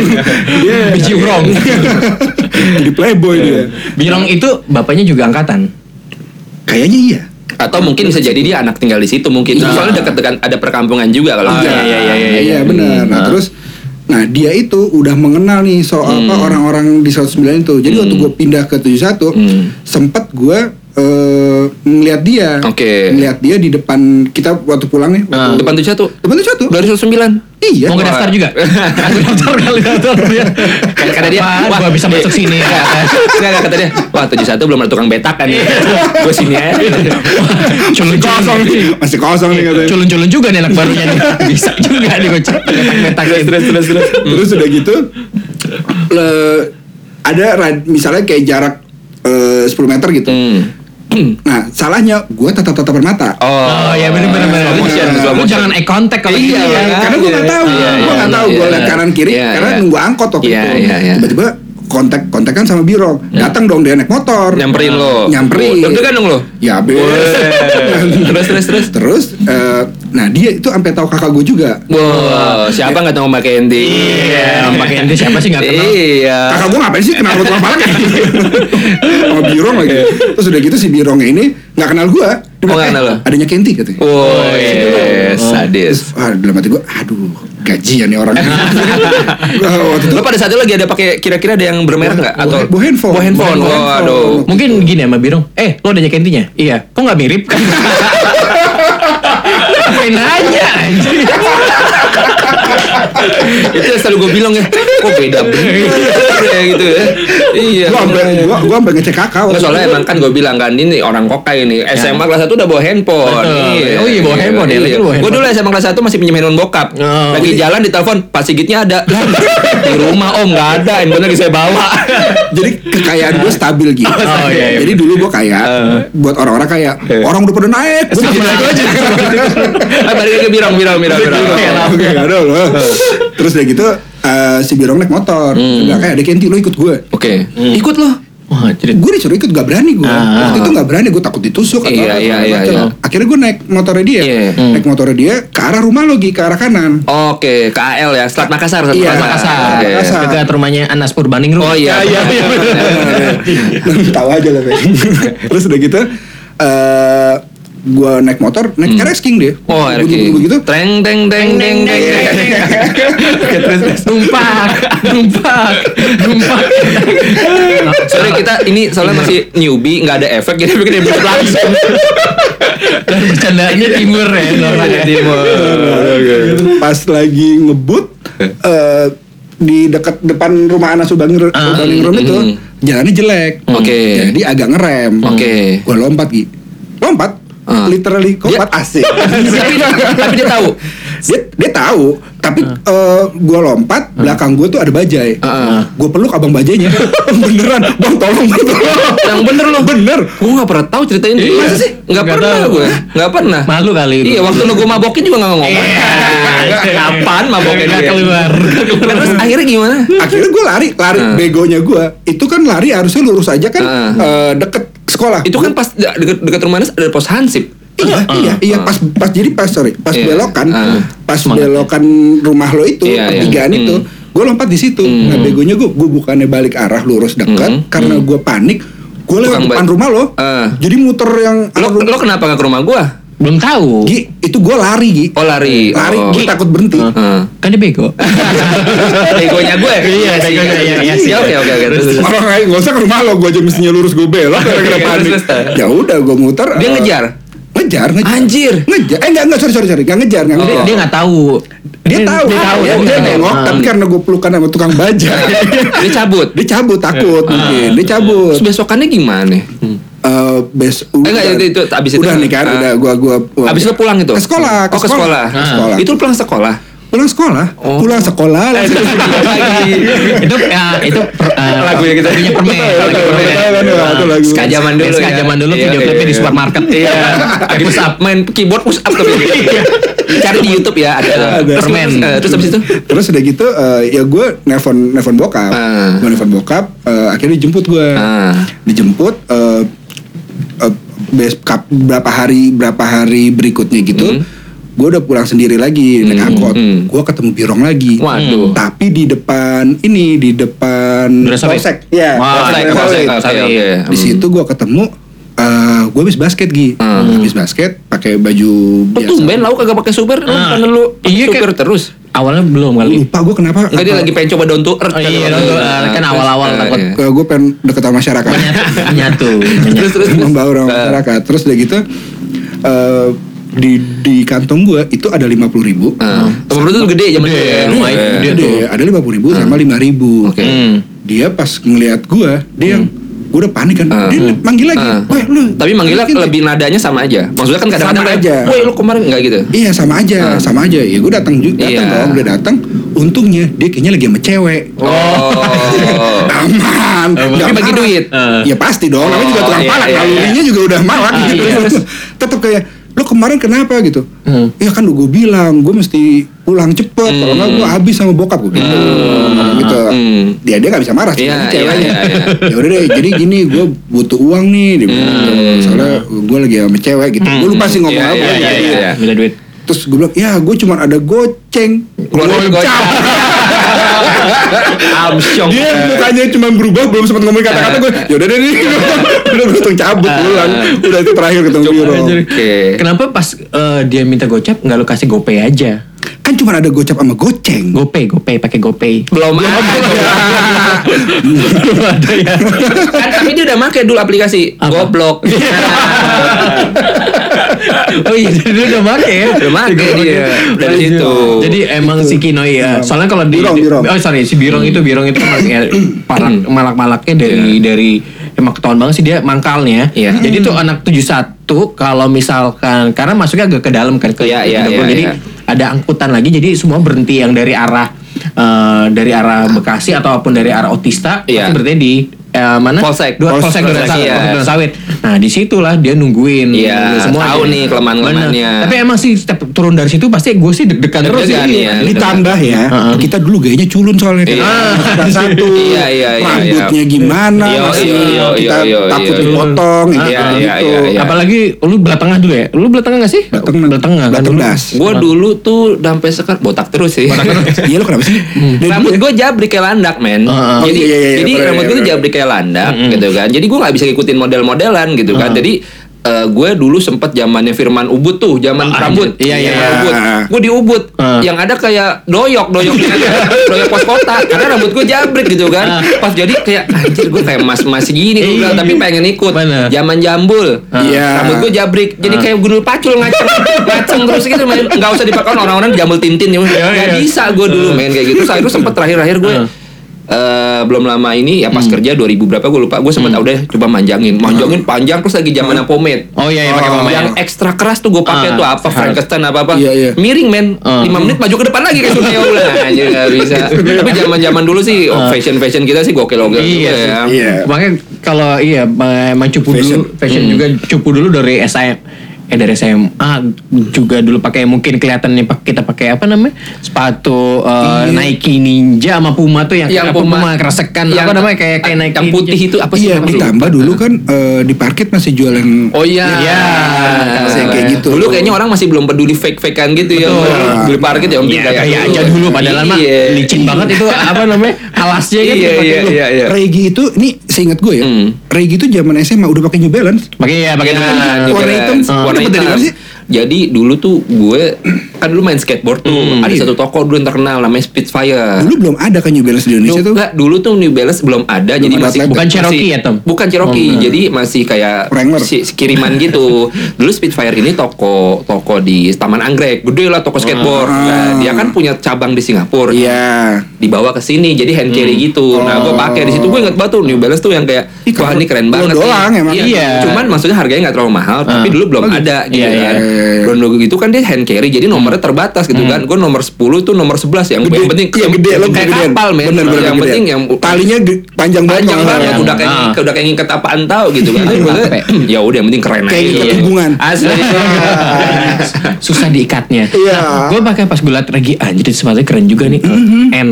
dia <laughs> Biji urong. Iya. jadi playboy Iya. dia Birong itu bapaknya juga angkatan. kayaknya iya Atau mungkin bisa jadi dia anak tinggal di situ mungkin. Soalnya dekat-dekat ada perkampungan juga kalau. Ah. Iya, iya, iya, iya, iya benar. Nah, terus nah dia itu udah mengenal nih soal apa orang-orang di 109 itu. Jadi waktu gue pindah ke 71 Hmm. sempat gue eh ngeliat dia. Oke. Ngeliat dia di depan kita waktu pulang nih. Waktu, Depan tuh satu. depan tuh satu. Dari 109. Iya. Mau Wah. ngedaftar <laughs> juga? Aku daftar kali daftar dia. Kan kata dia, iya." Apaan, gua bisa masuk sini. Enggak, enggak, enggak, kata dia. Wah, 71 belum ada tukang betak kan ya. Gue sini <laughs> aja. Iya. Masih kosong nih. <laughs> Masih kosong nih katanya. Culun-culun juga nih anak barunya <laughs> nih. Bisa juga nih gocek. Terus terus terus. <laughs> Terus udah gitu le, ada rad- misalnya kayak jarak eh, 10 meter gitu. Hmm. Nah, salahnya gue tatap-tatapan mata. Oh ya bener bener bener. Slow motion, slow Lu motion. jangan eye contact kalau Iya, gitu ya. makanya. karena gue nggak tahu, Iya, gue iya, nggak tahu iya, gue iya. lihat kanan kiri, Iya, karena iya. nunggu angkot waktu Iya, itu. iya, iya. Tiba-tiba kontak kontak kan sama Birong, datang dong dia naik motor, Nyamperin lo. nyamperin, Deg kan dong lo. ya be. Terus terus terus. Terus, eh, nah dia itu sampai tahu kakak gue juga. Wow, siapa nggak tahu pakai ending? Iya. Pakai ini siapa sih nggak kenal? Iya. Kakak gue ngapain sih kenal lo tukang <laughs> palak ya? Sama Birong lagi. Terus udah gitu si Birongnya ini nggak kenal gue. Dia Iya. Oh, bilang, nggak "Eh, kenal lo?" Oh, Adanya Kenti katanya. Oh, iya, Woi, sadis. Terus, ah, dalam hati gue, aduh gajian nih <laughs> orang. Gua waktu itu Lo pada saat itu lagi ada pakai kira-kira ada yang bermerek nggak? Buah- Atau buah handphone. Buah handphone. Buah handphone. Waduh. Mungkin gini ya sama Birong. Eh, lo adanya kentinya? Iya. Kok nggak mirip? Ngapain nanya? anjing? Itu yang selalu gue bilang ya. Kok beda bener ya gitu ya. Iya. gue sampai gue gue sampai ngecek kakak. waktu Oh, Nggak itu. soalnya iya. emang kan gue bilang kan ini orang kokai ini SMA kelas 1 udah bawa handphone. Betul. Oh iya, bawa handphone ya, lagi bawa Gue handphone. dulu SMA kelas 1 masih pinjam handphone bokap. Oh. iya. Lagi jalan ditelepon, Pak Sigitnya ada. Lah, di rumah Om nggak ada, handphone lagi saya bawa. Nah, Jadi kekayaan gue stabil gitu. Oh, iya, iya. Jadi dulu gue kaya, buat orang-orang kaya, orang udah pada naik, Gitu. gue masih gitu. naik <laughs> aja. Eh balik lagi birong birong birong birong. iya, Oke, ada loh. Terus udah gitu, eh, si Birong naik motor, Eh. Hmm. Dia bilang, kayak ada Kenti lo ikut gue. Oke. Ikut lo. Wah, jadi Gue disuruh ikut gak berani gue. Ah. Waktu itu gak berani gue takut ditusuk atau Iya, apa, iya, segala iya, macam. iya. Akhirnya gue naik motornya dia, Iya. naik motornya dia ke arah rumah lo Gi, ke arah kanan. Oke, KL ya, Selat Makassar, Selat Iya, Makassar. Oke. Makassar. Dekat rumahnya Anas Purbaningrum. Ah, Oh iya. iya, iya. Tahu aja lah. Pak. Terus udah gitu eh gua naik motor naik RX King dia Oh, RK. Bunyi-bunyi gitu Treng teng teng teng teng. Oke, terus terus. numpak numpak numpak <laughs> Sorry kita ini Iya. soalnya masih newbie, nggak ada efek kita bikin episode langsung. <laughs> dan bercandaannya timur Iya, ya Nora. pas lagi ngebut eh, di dekat depan rumah Anas Subang Subangrum itu mm. jalannya jelek Oke. jadi agak ngerem Oke. gua lompat Gi lompat Ah. literally kompat asik <laughs> Tapi Iya. tapi dia tahu. dia, dia tahu tapi eh, gua lompat belakang gua tuh ada bajai Hmm. Ah. Nah, gua peluk abang <laughs> bajainya beneran bang tolong bang tolong Yang bener loh bener Gue nggak pernah tahu ceritain dia. Masa sih? Nggak Iya. Nggak pernah tahu. gue. Nggak pernah. malu kali Iya. Iya, waktu lu gue mabokin juga nggak ngomong. Kapan mabokin dia? Nggak Nah, keluar Terus akhirnya gimana? akhirnya gua lari lari Ah. begonya gua itu kan lari harusnya lurus aja kan Ah. eh, deket sekolah Itu kan pas de- deket, deket rumah Anas ada pos hansip. Iya, iya, iya. Pas, pas jadi pas sorry, pas Ah. Iya. belokan, Ah. pas belokan rumah lo itu Iya, iya. pertigaan Hmm. itu, gue lompat di situ. Nah begonya gue, gue bukannya balik arah lurus Hmm. dekat, karena gue panik, gue lewat Tukang depan ba- rumah lo, Ah. jadi muter yang Lo, arah lo kenapa nggak ke rumah gue? belum tahu Gi, itu gue lari Gi, Oh lari. lari, Oh. gue takut berhenti. <laughs> Heeh. kan dia bego Oh. Begonya gue. Iya, begonya, iya, iya, sih. Oke, oke, oke. Terus, terus. Orang kayak nggak usah ke rumah lo, gue aja mestinya lurus gue <laughs> belok gara-gara Iya, panik. terus, terus. Ya udah, gue muter. Dia eh, ngejar? Ngejar, ngejar. Anjir. Ngejar, eh nggak nggak sorry sorry sorry, nggak ngejar, nggak Oh. ngejar. dia nggak tahu Dia tahu, ah, dia tahu dia, ya dia tahu. nengok, tapi karena gue pelukan sama tukang baja. Ah. <laughs> Dia cabut. Ah. dia cabut takut mungkin dia cabut Terus besokannya gimana? Eh, bes udah, enggak, itu- itu- abis itu. udah nih kan Ah. udah gua gua gua- Abis lo pulang itu? ke sekolah Oh, ke sekolah. ke sekolah. Itu lo pulang sekolah. pulang sekolah Oh. pulang sekolah langsung <laughs> itu ya, itu per, eh, Lagunya kita. Iya, lagunya permen lagunya permen. betul, betul, betul, Ah, betul, lagu. Ska zaman dulu Ska ya. zaman dulu Iya, video iya, klipnya di iya. supermarket Iya. Ada push up main keyboard push up tapi. Cari di YouTube ya ada Ada. permen. Eh, Terus abis itu? terus udah gitu eh, ya gue nelfon nelfon bokap Ah. gue nelfon bokap eh, akhirnya dijemput gue Ah. dijemput eh, eh, bes- kap- berapa hari berapa hari berikutnya gitu gue udah pulang sendiri lagi naik angkot hmm. gue ketemu Birong lagi Waduh. tapi di depan ini di depan Duresawit. polsek ya Wah, Polsek, polsek, polsek, polsek, oke, Hmm. iya. oke. di situ gue ketemu eh gue habis basket Gi habis basket pakai baju Lu biasa Ah. tumben lau kagak pakai super, lu Ah. kan lu Iya, super kayak- terus. awalnya belum Gua kali <laughs> lupa gue kenapa Enggak dia lagi pengen coba down to earth. Oh, kan, waktu iya, down to itu. earth. Kan Terus, awal-awal eh, takut. iya. gue pengen deket sama masyarakat menyatu Terus <laughs> terus Eh. terus. membaur sama masyarakat terus udah gitu eh, di di kantong gue itu ada lima puluh ribu Heeh. Perut lu gede zaman Gede, dulu ya. lumayan Iya. gede. Gede, ada lima puluh ribu sama lima ribu Eh. Oke. Hmm. dia pas ngelihat gue dia yang gue udah panik kan Ah. dia manggil lagi Ah. weh lu Tapi manggilnya balikin deh." lebih nadanya sama aja. Maksudnya kan kadang-kadang Iya, Sama kayak, aja. Woi, lu kemarin enggak gitu. Iya sama aja, Ah. sama aja. Ya gue datang juga, datang Iya. dong, udah datang. Untungnya dia kayaknya lagi sama cewek. Oh. <laughs> Aman. nggak bagi marah. duit. Ah. Ya pasti dong, namanya juga Oh, tukang iya, palak, iya, nalurinya juga udah malak Ah, gitu. iya. Terus Tetap kayak, lo kemarin kenapa gitu? Hmm. Ya kan gue bilang, gue mesti pulang cepet, kalau nggak gue habis sama bokap gue gitu. gitu. Hmm. Dia dia nggak bisa marah, sih, Iya, karena iya, ceweknya. iya, Ya udah deh, jadi gini gue butuh uang nih, dia bilang. gitu. Soalnya gue lagi sama cewek gitu. Gue lupa sih ngomong Hmm. Iya, apa. iya, iya, Jadi, iya. bila duit Terus gue bilang, ya gue cuma ada goceng. Keluar gocap. Amsyong. Dia mukanya cuma berubah, belum sempat ngomongin kata-kata gue. Yaudah deh <laughs> nih, udah beruntung cabut Ah. pulang. Udah itu terakhir ketemu Biro. Iya, Oke. kenapa pas eh, dia minta gocap nggak lu kasih gopay aja Kan cuma ada gocap sama goceng. gopay gopay pakai gopay Belum ada. Iya. <laughs> ada ya kan tapi dia udah make dulu aplikasi Apa? <laughs> goblok oh iya jadi dia udah make ya Udah make dia. Iya, Dari situ. Iya. jadi emang si Kinoi ya soalnya kalau di Birong, Birong. oh sorry si Birong itu Birong itu emang <coughs> ya, parak- Hmm. malak-malaknya dari dari emang ketahuan banget sih dia mangkalnya Iya. jadi tuh anak 71 kalau misalkan karena masuknya agak ke dalam kan ke Iya, iya, ke dapur. iya, jadi iya. ada angkutan lagi jadi semua berhenti yang dari arah eh, dari arah Bekasi ataupun dari arah Otista Iya. pasti berhenti di eh, mana Polsek. dua Polsek, polsek, Duren polsek, Sawit, iya. Polsek Duren Sawit. Nah disitulah dia nungguin. Iya, Nungguin tahu Jadi- nih kelemahan-kelemahannya. Bener. Tapi emang sih setiap Eh, turun dari situ pasti gue sih deg-degan terus sih. Deg-degan, iya. ah. Ditambah ya, Heeh. kita dulu gayanya culun soalnya. Iya. Ah, Kurang satu, <laughs> Iya, iya, iya, rambutnya gimana, Iya, masih iya, iya, kita iya, iya, takut iya. dipotong, Iya, gitu. iya, iya, iya. Apalagi lu belah tengah dulu ya? Lu belah tengah gak sih? Belah tengah. kan Belah dulu? tendas. gue dulu tuh sampai sekarang botak terus sih <laughs> Iya lo kenapa sih? Dari dulu Hmm. rambut ya? gue jabrik kayak landak men Ah, ah. jadi Oh, iya, iya, iya, jadi rambut bener, iya, gue tuh Hmm, bener. Ah. jabrik kayak landak gitu kan jadi gue nggak bisa ngikutin model-modelan gitu kan jadi eh, gue dulu sempat zamannya Firman Ubud tuh, zaman Ah, Prabut. iya, iya, Zaman iya. Ubud. Gue di Ubud, Ah. yang ada kayak doyok, <laughs> doyok, doyok pos kota. Karena rambut gue jabrik gitu kan. Ah. Pas jadi kayak anjir gue kayak mas-mas gini gue bilang, tapi pengen ikut. Iya. Bener. Ah. Zaman jambul. Iya. Rambut gue jabrik, jadi kayak gundul pacul ngaceng, ngaceng terus gitu main. Enggak usah dipakai orang-orang jambul tintin ya. Nggak iya. bisa gue dulu main kayak gitu. Terus akhirnya sempet terakhir-akhir gue Ah. eh belum lama ini ya Hmm. pas kerja 2000 berapa gue lupa gue sempet "Ah, udah coba manjangin manjangin panjang terus lagi zaman pomade Oh iya, iya, pakai Oh, pomade. yang ekstra keras tuh gue pakai Ah, tuh apa Frankenstein apa apa Iya, iya. miring men Ah. Gitu. 5 menit maju ke depan lagi kayak Suneo <laughs> lah anjir nggak bisa tapi zaman zaman dulu sih fashion fashion kita sih gokil gokil Ah. Iya juga sih. ya. Iya. Makanya kalau iya emang cupu Fashion. dulu fashion Hmm. juga cupu dulu dari SIM eh dari SMA juga dulu pakai mungkin kelihatannya pak- kita pakai apa namanya sepatu eh, Iya. Nike Ninja sama Puma tuh yang, Yang kayak Puma, Puma. keresekan Yang- apa namanya kayak kayak Nike gitu. yang putih Ninja. itu apa sih Iya, namanya? ditambah dulu kan eh, di parkit masih jual yang Oh iya. Iya. Saya kayak gitu. Dulu kayaknya orang masih belum peduli fake-fakean gitu ya. Betul. Beli parkit ya om Iya, kayak aja dulu padahal mah Iya. licin banget <laughs> itu apa namanya alasnya kan Iya dipakai iya dulu. iya iya. Regi itu, ini seingat gue ya, Hmm. Regi itu zaman SMA udah pakai New Balance. Pakai ya pakai Iya, dulu. New warna Balance. hitam. Warna Itu dari hitam. mana sih? Jadi dulu tuh gue kan dulu main skateboard tuh. Hmm. Ada satu toko dulu yang terkenal namanya Spitfire. Dulu belum ada kan New Balance di Indonesia tuh. Enggak, dulu tuh New Balance belum ada jadi ada masih atleta. Bukan Cherokee masih- ya, Tom? Bukan Cherokee, jadi masih kayak Wrangler. si, si kiriman <laughs> gitu. Dulu Spitfire ini toko toko di Taman Anggrek, gede lah Ah. toko skateboard. Nah, dia kan punya cabang di Singapura Iya. dibawa ke sini jadi hand carry gitu. Nah, gue pakai di situ gue inget banget tuh New Balance tuh yang kayak Hmm. Ih, wah kalau- ini keren kalau banget. doang nih. emang. Ah. Iya. Iya. Cuman maksudnya harganya nggak terlalu mahal, tapi dulu belum ada gitu Iya, iya, kan. iya, iya. Belum dulu gitu kan dia hand carry jadi nomornya terbatas gitu kan. Gue nomor 10 tuh nomor 11 yang, yang Gede, penting iya, gede, lo kayak gedean. kapal men. Bener, bener, yang gedean. penting yang talinya ge- panjang banget. Iya. panjang kalau nggak banget salah. udah kayak Ah. ngikat- udah kayak ngikat apaan tahu gitu <laughs> kan. Terus maksudnya, <clears throat> ya udah yang penting keren Kayak ngikat hubungan. <laughs> Asli. gitu. <laughs> susah diikatnya. Iya. gue pakai pas gue liat lagi anjir itu sepatu keren juga nih. Mm-hmm. And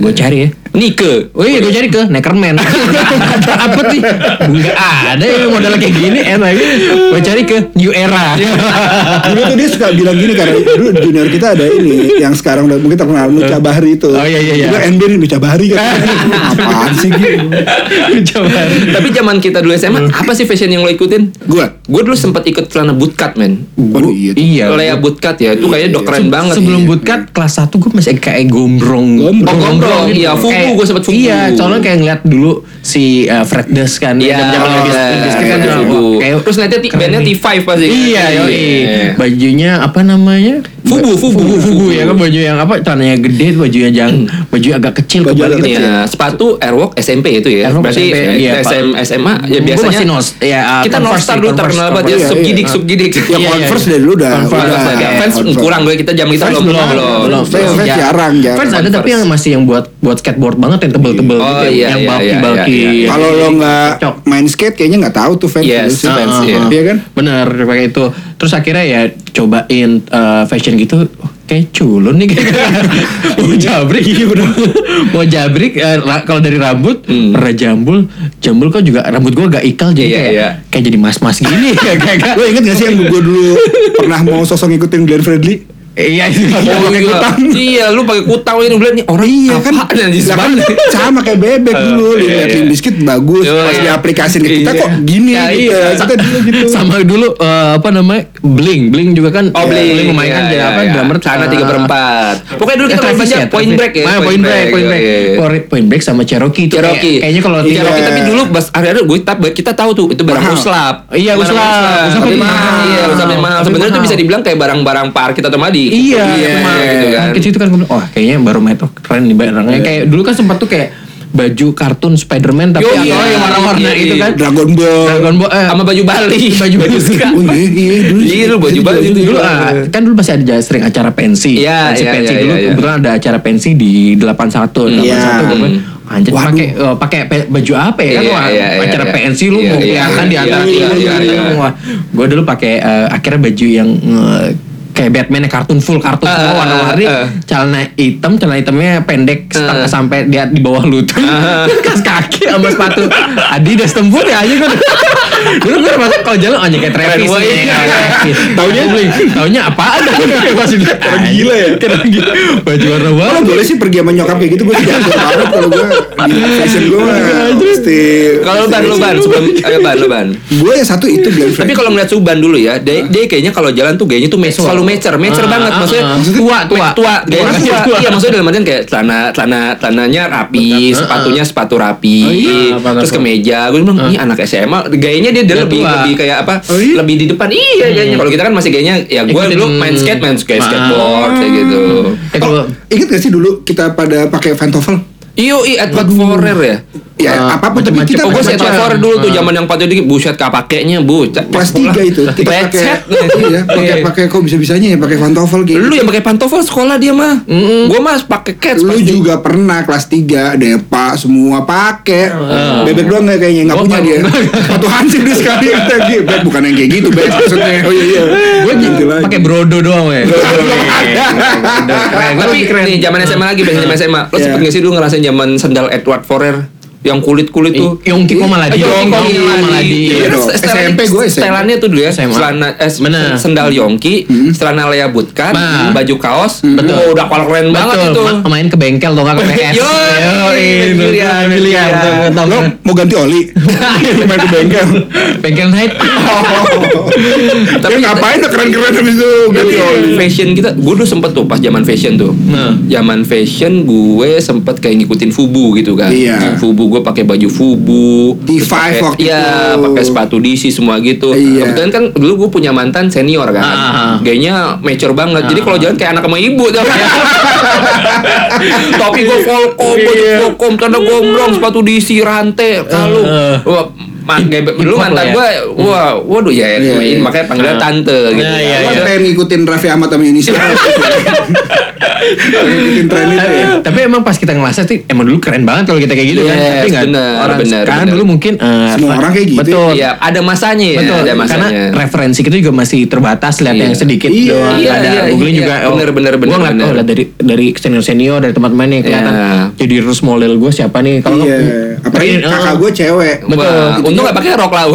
gue cari ya. Nike. Oh iya, gue cari ke <laughs> Neckerman. Apa sih? Enggak ada ya model kayak gini. And lagi gue cari ke New Era. Iya. <laughs> Dulu tuh dia suka bilang gini karena dulu junior kita ada ini yang sekarang udah mungkin terkenal Eh. Nuca Bahri itu. Oh, iya, iya, iya. Dulu NB nih Nuca <laughs> Bahri katanya. Apaan sih gitu. Coba. Tapi zaman kita dulu SMA, apa sih fashion yang lo ikutin? Gua. Gue dulu sempat ikut celana bootcut, men. Waduh iya. tuh. Iya. Lea bootcut ya, itu kayaknya udah keren banget. Sebelum bootcut kelas 1 gue masih kayak Iya. gombrong. Gombrong. Oh, gombrong, iya, fugu, Kayak- gua sempet fugu. Iya, soalnya kayak ngeliat dulu si eh, Fred Durst kan. Iya, zaman-zaman iya, Inggris- Inggris kan. iya, wah, fugu. kayak- Terus nanti ti- keren bandnya nih. T5 pasti. Iya, Iya. yoi. Bajunya apa namanya? Fugu, fugu, fugu, Hmm. fugu. ya kan baju yang apa? Tanahnya gede, bajunya yang baju agak kecil Baju kebalik agak gitu. kecil. Iya, sepatu Airwalk SMP itu ya. Airwalk Berarti SMP, iya, Pak. SM, SMA ya Gua biasanya. masih nos- ya, uh, kita Converse Northstar sih, dulu Converse, terkenal banget dia Converse. subgidik Iya, iya. subgidik. Ya Iya, Converse iya. dari dulu udah. Converse, udah. Converse, iya. ya. Fans Converse. kurang gue kita jam kita Fans belum belum, belum. ya. belum. Fans- fans jarang, jarang. Fans ada tapi yang masih yang buat buat skateboard banget yang tebel-tebel Oh, gitu, iya, iya, yang iya, bulky-bulky. iya, iya. Kalau lo nggak Cocok. main skate kayaknya nggak tahu tuh fans. Yes, dulu sih. fans, iya. Iya kan? ya. Bener, pakai itu. Terus akhirnya ya cobain eh, fashion gitu, oh, kayak culun nih <laughs> kayak mau jabrik iya bener. mau jabrik eh, ra- kalau dari rambut pernah jambul jambul kok juga rambut gua agak ikal jadi Hmm. Iya, kayak iya. kayak jadi mas-mas <laughs> gini kayak kayak Lo inget gak sih yang gue dulu pernah mau sosok ngikutin Glenn Fredly? <laughs> iya itu Oh, pakai iya. kutang. Iya, lu pakai kutang ini bilang nih orang Iya kan, apaan ya, jis Lah kan banget. sama kayak bebek dulu, iya, lihat iya. biskit bagus, Iya, pas iya. diaplikasiin ke kita Iya. kok gini Ya, gitu. iya. Kita dulu gitu. sama dulu eh, apa namanya bling bling juga kan Oh, beli. bling memainkan jadi apa drummer iya. Sana tiga per empat. Pokoknya dulu Eh, kita main iya. Travis banyak ya, point Travis. break ya. Ah, point break, point break. iya, iya. Point- Point break sama Cherokee itu. kayak- Cherokee. kayaknya kalau Iya, tinggal Cherokee Iya. tapi dulu bas hari-hari gue kita kita tahu tuh itu barang Mahal. uslap. Iya, Barang uslap. Uslap Tapi lebih mahal. mahal. Iya, uslap lebih mahal. Tapi Sebenarnya itu mahal. bisa dibilang kayak barang-barang parkir atau madi. Iya, Iya, memang. gitu kan. Iya. Nah, Kecil itu kan kemudian, oh kayaknya baru metro keren nih barangnya. Kayak dulu kan sempat tuh kayak baju kartun Spiderman Yo, tapi yang iya, yang warna-warna iya, iya. itu kan. Dragon Ball. Dragon Ball eh, Sama baju Bali, <laughs> Baju Bali. ska. Oh, iya, iya, dulu. Iya, lu baju Bali itu dulu ah, kan dulu masih ada sering acara pensi. Iya, pensi iya, pensi iya, dulu iya. kebetulan ada acara pensi di 81 81 Iya. kemudian, anjir Waduh. pakai eh, pakai pe- baju apa ya kan Hmm. Iya, wah, iya, iya, acara iya. pensi lu Iya, mau iya, kelihatan di gitu iya, antara iya, iya, iya. gue kan. dulu pakai eh, akhirnya baju yang eh, kayak Batman yang kartun full kartun Eh, semua eh, warna-warni eh. celana hitam celana hitamnya pendek Eh. setengah sampai di, Ah. <laughs> di bawah lutut kas kaki sama sepatu Adidas tempur ya aja kan <laughs> Dulu gue masuk kalau jalan aja kayak Keren, Travis. nih, wah, iya. kayak Travis. Taunya? Goblin. Iya. Taunya apaan? Masih Orang gila ya? Keren gila. Baju warna Kalau banget. boleh sih pergi sama nyokap kayak gitu gue tidak atur banget kalau gue di fashion gue mah mesti Iya, Kalau lu ban, lu ban, <laughs> sebelum ayo ban, lu ban. gue yang satu itu Glenn Fredly. Tapi kalau ngeliat Suban dulu ya, dia, dia kayaknya kalau jalan tuh gayanya tuh me- Casual. selalu mecer, mecer Ah, banget ah, maksudnya ah. Maksudnya tua, tua. tua, gaya Orang tua. tua. Iya, maksudnya dalam artian kayak celana celana celananya rapi, Betul. Ah, sepatunya sepatu rapi, iya, apa-apa. terus kemeja. Gue bilang, "Ini anak SMA, gayanya dia, dia Ah. Dia lebih tua. Hmm. lebih kayak apa? Oh, iya? Lebih di depan." Iya, gayanya. Kalau kita kan masih gayanya ya gue Ikutin. dulu main skate, main skate, Ah. skateboard kayak gitu. Eh, kalau- Oh, ingat gak sih dulu kita pada pakai pantofel? Iyo, i Edward Forer ya. Ya, Ah, apapun tapi macam-macam. kita Oh, gue pakai si Edward pantofel. Forer dulu Ah. tuh zaman yang patut dikit buset kapakeknya, bu. kelas tiga itu kita pakai Lecet. <laughs> iya, pakai pakai kok bisa bisanya ya pakai pantofel gitu. Lu yang pakai pantofel sekolah dia mah. Gua mah pakai cats. Lu pasti. juga pernah kelas 3 Depa semua pakai. Bebek doang nggak kayaknya nggak Gua punya pakai- dia. <laughs> Sepatu Hansi dia <laughs> sekali kata gitu. Beb, bukan yang kayak gitu, <laughs> Beb maksudnya. Oh iya iya. Gue Gitu lagi. <laughs> pakai brodo doang ya. Iya, Nah, tapi nih zaman SMA lagi, biasanya zaman SMA. Lu Iya. sempet nggak sih dulu ngerasain zaman sendal Edward Forer yang kulit-kulit tuh? Yongki kok malah di. Ayo, Yongki Yongki kok malah di. Iya, Iya kan dong. setelan- SMP gua SMP. Setelannya tuh dulu ya, SMA. celana eh, s- Bener. sendal Yongki, celana lea bootcut, Nah. baju kaos. Betul. Oh, udah kalau keren banget itu. Betul, ma- main ke bengkel dong nggak ke PS. Yo, ini miliar, miliar. Lo mau ganti <laughs> oli? Iya, Main ke <laughs> bengkel. Bengkel night. Tapi Oh. Ya, Iya, ngapain tuh keren-keren habis itu ganti oli? fashion kita gue dulu sempet tuh pas zaman fashion tuh Nah. zaman fashion gue sempet kayak ngikutin fubu gitu kan Iya. fubu gue pakai baju fubu D5 pakai- waktu iya itu. pakai sepatu DC semua gitu Iya. kebetulan kan dulu gue punya mantan senior kan Ah. gayanya mature banget jadi kalau jalan kayak anak sama ibu tau <laughs> nggak? topi Iya. gue volcom baju volcom tanda gombrong sepatu DC rantai kalung Ah. Wah, ma- gaya- dulu Hip-hop mantan lah ya. gue wah waduh ya, Iya, iya. makanya panggilan Ah. tante gitu Iya, iya, Gua iya. pengen ngikutin Raffi Ahmad sama Yunisa. Iya. ngikutin tren itu Iya. ya. Tapi emang pas kita ngelasnya sih emang dulu keren banget kalau kita kayak gitu kan. Yes, Tapi nggak- bener, orang bener, sekarang bener. dulu mungkin eh, Semua ra- orang kayak gitu Betul. Iya, ada masanya ya, Betul, ada karena masanya. referensi kita juga masih terbatas lihat Iya. yang sedikit Iya, doang. iya, ada iya, googling iya. juga. Bener, bener, gua bener, ngeliat, bener. oh, liat dari dari senior senior dari teman teman nih kelihatan. Iya. Jadi terus model gue siapa nih? Kalau Iya. nggak- Apalagi Eh, kakak gue cewek. Wah, Gitu untung ya. nggak pakai Iya. rok Iya, lah.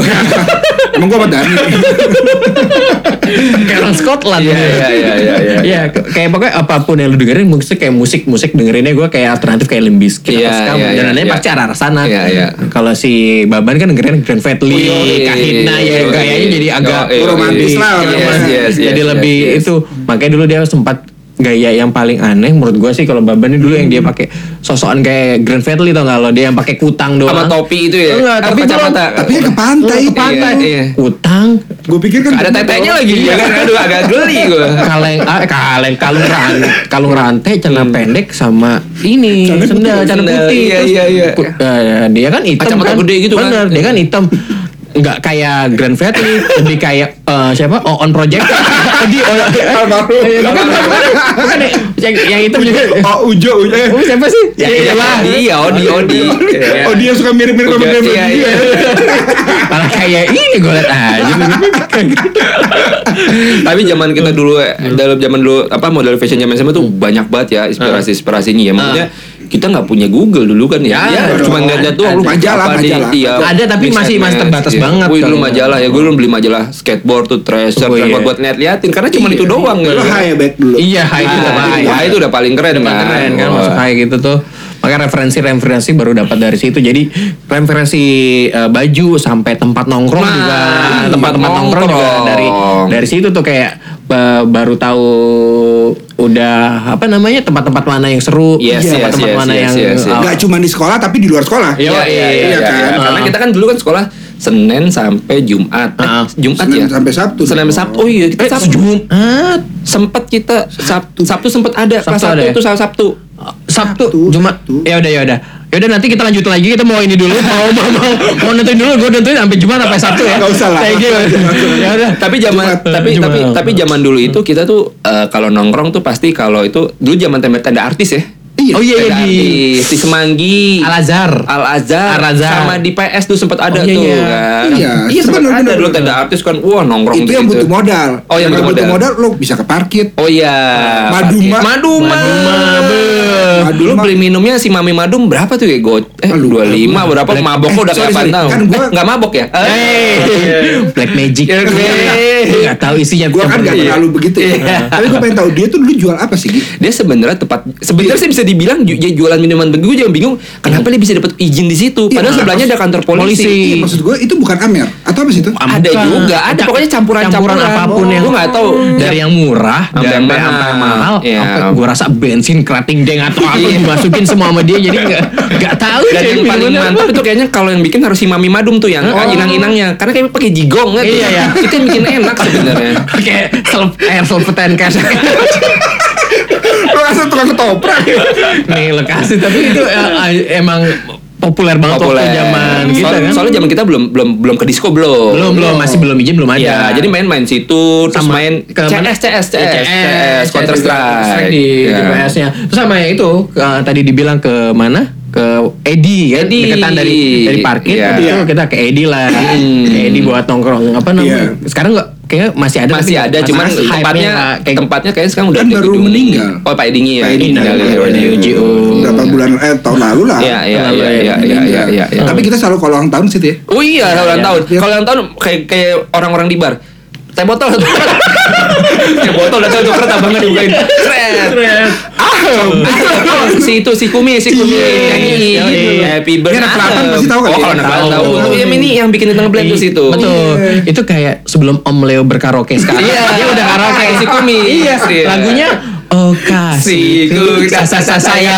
Emang gue sama Dani. <laughs> kayak orang Scotland. Iya, iya, iya, iya, iya. Iya, ke- kayak pokoknya apapun yang lu dengerin, mungkin kayak musik, musik dengerinnya gue kayak alternatif kayak Limbiskit Iya, atau Skam, iya, dan iya, lainnya iya. pasti arah arah sana. Iya, iya. Kalau si Baban kan dengerin Grand Fadli, Yoi, Kahitna ya, yoi. kayaknya jadi agak Yoi, yoi. romantis lah, Iya, romantis. Yes, yes, jadi yes, lebih yes. itu. Makanya dulu dia sempat gaya yang paling aneh menurut gue sih kalau Baban ini dulu yang Hmm. dia pakai sosokan kayak Grand Fadli tau nggak lo dia yang pakai kutang doang Sama topi itu ya? Enggak, Atau tapi kacamata? Tapi dia ke pantai. ke pantai Iya, iya. kutang Gue pikir kan Ada tetenya lagi, Iya. ya kan? Aduh, agak geli gue. kaleng ah, kaleng kalung rantai kalung rantai celana pendek sama ini Celana putih, sendal celana Hmm. sendal. putih Iya, Terus iya, iya. ku- eh, dia kan hitam Kacamata kan gede gitu kan. bener dia kan hitam nggak kayak Grand Fredly lebih kayak eh, siapa Oon <laughs> Project Iya, <laughs> di oh, Iya. eh, Almarhum. eh, bukan, bukan, bukan, eh, yang, yang hitam <laughs> juga Oh Ujo, Ujo. Eh, oh, siapa sih ya, Iya, iyalah. Odi, Odi, Odi. Iya. Oh dia suka mirip-mirip sama Ujo, Grand iya, Fredly. iya. malah kayak ini gue liat aja Tapi zaman kita dulu eh, Hmm. dalam zaman dulu apa model fashion zaman SMA tuh banyak banget ya inspirasi inspirasinya ya maksudnya kita nggak punya Google dulu kan ya, Hmm. Ya, ya, dong. cuma lihat-lihat doang lu Majalah, apa di- majalah. iya, Ada, tapi di masih- masih SMS, terbatas iya. banget Wih dulu kalau- majalah ya gue dulu beli majalah skateboard tuh tracer Oh, iya. buat buat lihat-liatin karena cuma itu doang ya. Lo high ya, back dulu. iya hai itu udah Nah, bahaya. Wah, itu udah paling keren kan. keren kan Wah. masuk kayak gitu tuh maka referensi-referensi baru dapat dari situ jadi referensi eh, baju sampai tempat nongkrong Nah, juga tempat tempat-tempat nongkrong juga nongkrong. dari dari situ tuh kayak ba- baru tahu udah apa namanya tempat-tempat mana yang seru Yes, yes, tempat-tempat yes, mana yes, yang yes, yes. eh, Gak cuma di sekolah tapi di luar sekolah. Iya, Iya, iya, iya, iya, kan? Karena kita kan dulu kan sekolah Senin sampai Jumat. Eh, Ah. Jumat ya? Senin sampai Sabtu. Senin sampai Sabtu. Oh iya, kita eh, Sabtu. Jumat Sempet kita Sabtu. Sabtu sempet ada. Kelas Sabtu Sabtu ada ya? itu Sabtu. Sabtu. Sabtu, Sabtu, Jumat Sabtu. ya udah ya udah ya udah nanti kita lanjut lagi kita mau ini dulu mau mau mau, mau nentuin dulu gue nentuin sampai Jumat sampai Sabtu ya Nggak usah lah. Thank you. ya udah Tapi zaman Jumat. tapi Jumat. tapi tapi zaman dulu itu kita tuh eh, kalau nongkrong tuh pasti kalau itu dulu zaman tanda tanda artis ya. Oh iya, iya, Tanda di- artis, di Semanggi. Al Azhar Al Azhar Al Azhar. sama di PS tuh sempat ada Oh, iya, tuh iya. kan. Iya, kelas. Iya sempat Bener, ada bener, dulu bener. tanda artis kan, wah nongkrong itu yang gitu. butuh modal. Oh, yang butuh modal. lo bisa ke parkir. Oh iya. Maduma. Maduma. Maduma. Dulu beli minumnya si Mami Madum berapa tuh ya? Go eh Aduh, 25 berapa Black- mabok eh, kok udah sorry, kayak sorry. tahu. Kan gua- Eh, enggak mabok ya? Black Magic. Ya, gue- Gua nggak tahu isinya. Gua kan gak terlalu begitu. Iya. ya. Tapi gue pengen tahu dia tuh dulu jual apa sih? Gi? Dia sebenarnya tepat sebenarnya sih bisa dibilang ju- dia jualan minuman begitu gue jangan bingung kenapa dia bisa dapat izin di situ Iya, padahal sebelahnya ada kantor polisi. Iya, maksud gue itu bukan Amer atau apa sih itu? Am- Ada Bukan. juga, ada Cam- pokoknya campuran-campuran campuran apapun yang- gue nggak tahu Iya. dari yang murah Sampai dari yang sampai mahal. yang mahal Iya. sampai gua rasa bensin kerating deng atau apa dimasukin semua sama dia jadi nggak nggak tahu Dan dia yang paling minumnya mantap apa. itu kayaknya kalau yang bikin harus si Mami Madum tuh yang inang-inangnya. Karena kayak pakai jigong kan. Iya, iya. Itu yang bikin enak sebenarnya. pakai self air selpeten kayak Lo asal tukang ketoprak. nih lokasi tapi itu eh, emang populer banget waktu zaman Soal- kita kan Soalnya zaman kita belum belum belum ke disco belum. belum belum masih belum izin belum ada Iya, jadi main-main situ, terus Sama main ke mana? CS, CS, Ya, CS, CS, Counter Strike. Iya. di GPS nya terus sama yang itu eh, tadi dibilang ke mana ke Edi kan Edi. deketan dari dari parkir Iya. habis itu kita ke Edi lah Hmm. ke Edi buat nongkrong apa namanya sekarang nggak kayaknya masih ada Masih tapi ada, cuman masih hype-nya tempatnya nggak kayak gitu. tempatnya kayaknya sekarang udah Kan ada baru gedung. meninggal. Oh, Pak Edingi ya. Pak Edi Meninggal, meninggal, ya, iya. ya, ya. UGO. Berapa bulan eh tahun lalu lah. Iya, iya, iya, iya, iya, iya, iya, iya. Tapi kita selalu kalau ulang tahun situ ya. Oh iya, kalau ulang iya. tahun. Kalau ulang tahun kayak kayak orang-orang di bar. Teh botol. <laughs> Teh botol udah tahu tuker tabangan dibukain. Sret. Ah, ah, si itu si Kumi, si Kumi nyanyi. Iya, iya. Happy birthday. Ini anak Klaten pasti tahu kan? Oh, kalau anak Tahu. Klaten tahu. Itu yang ini yang bikin tentang blend tuh situ. Betul. Itu kayak sebelum Om Leo berkaraoke sekarang. Iya. Dia udah karaoke Si Kumi. Iya. Iya. Lagunya Oh Si kasihku Kumi sasa sasa saya. saya.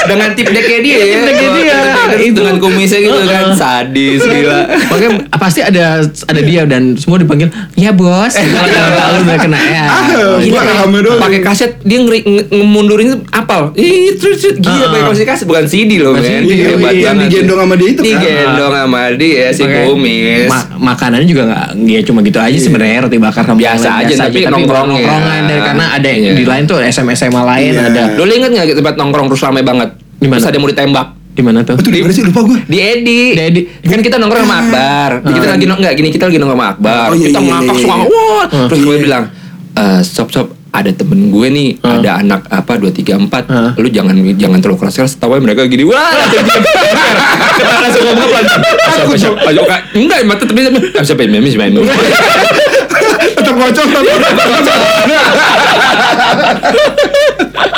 Dengan tip deknya dia ya. Tip deknya dia. Itu dengan kumisnya gitu kan Heeh. sadis gila. Pokoknya pasti ada ada dia dan semua dipanggil, "Ya, <laughs> Bos." Lalu udah kena ya. Ah, Gila, Gua rame pakai- doang. pakai kaset dia ngeri nge- ngemundurin itu apal ih terus terus gila Ah. pakai kursi kaset bukan CD loh men Bukan CD, Hebat iya, yang banget. digendong sama dia itu kan. digendong sama dia si Pakai- kumis Ma- makanannya juga nggak ya cuma gitu Iya. aja sebenarnya roti bakar sama Biasa yang lain, aja, tapi nongkrongnya. nongkrongan dan karena ada yang Iya. di lain tuh SMA SMA lain Iya. ada lo inget nggak tempat nongkrong terus ramai banget Di mana? terus ada yang mau ditembak di mana tuh? Itu di mana sih lupa gue. di Edi, Di Edi. kan kita nongkrong sama Akbar. Kita lagi nong nggak gini kita lagi nongkrong sama Akbar. Oh, iya, kita iya, ngakak iya, semua, iya. wah. Hmm. Terus gue bilang, "Eh, stop stop, ada temen gue nih, ada anak apa dua tiga empat. Hmm. Lu jangan jangan terlalu keras keras. Tahu mereka gini, <laughs> wah. langsung diem. Langsung ngomong pelan. Siapa siapa? Ayo kak, enggak mata tapi tapi Ah, siapa yang memis main memis. <laughs> Tetap kocok tapi.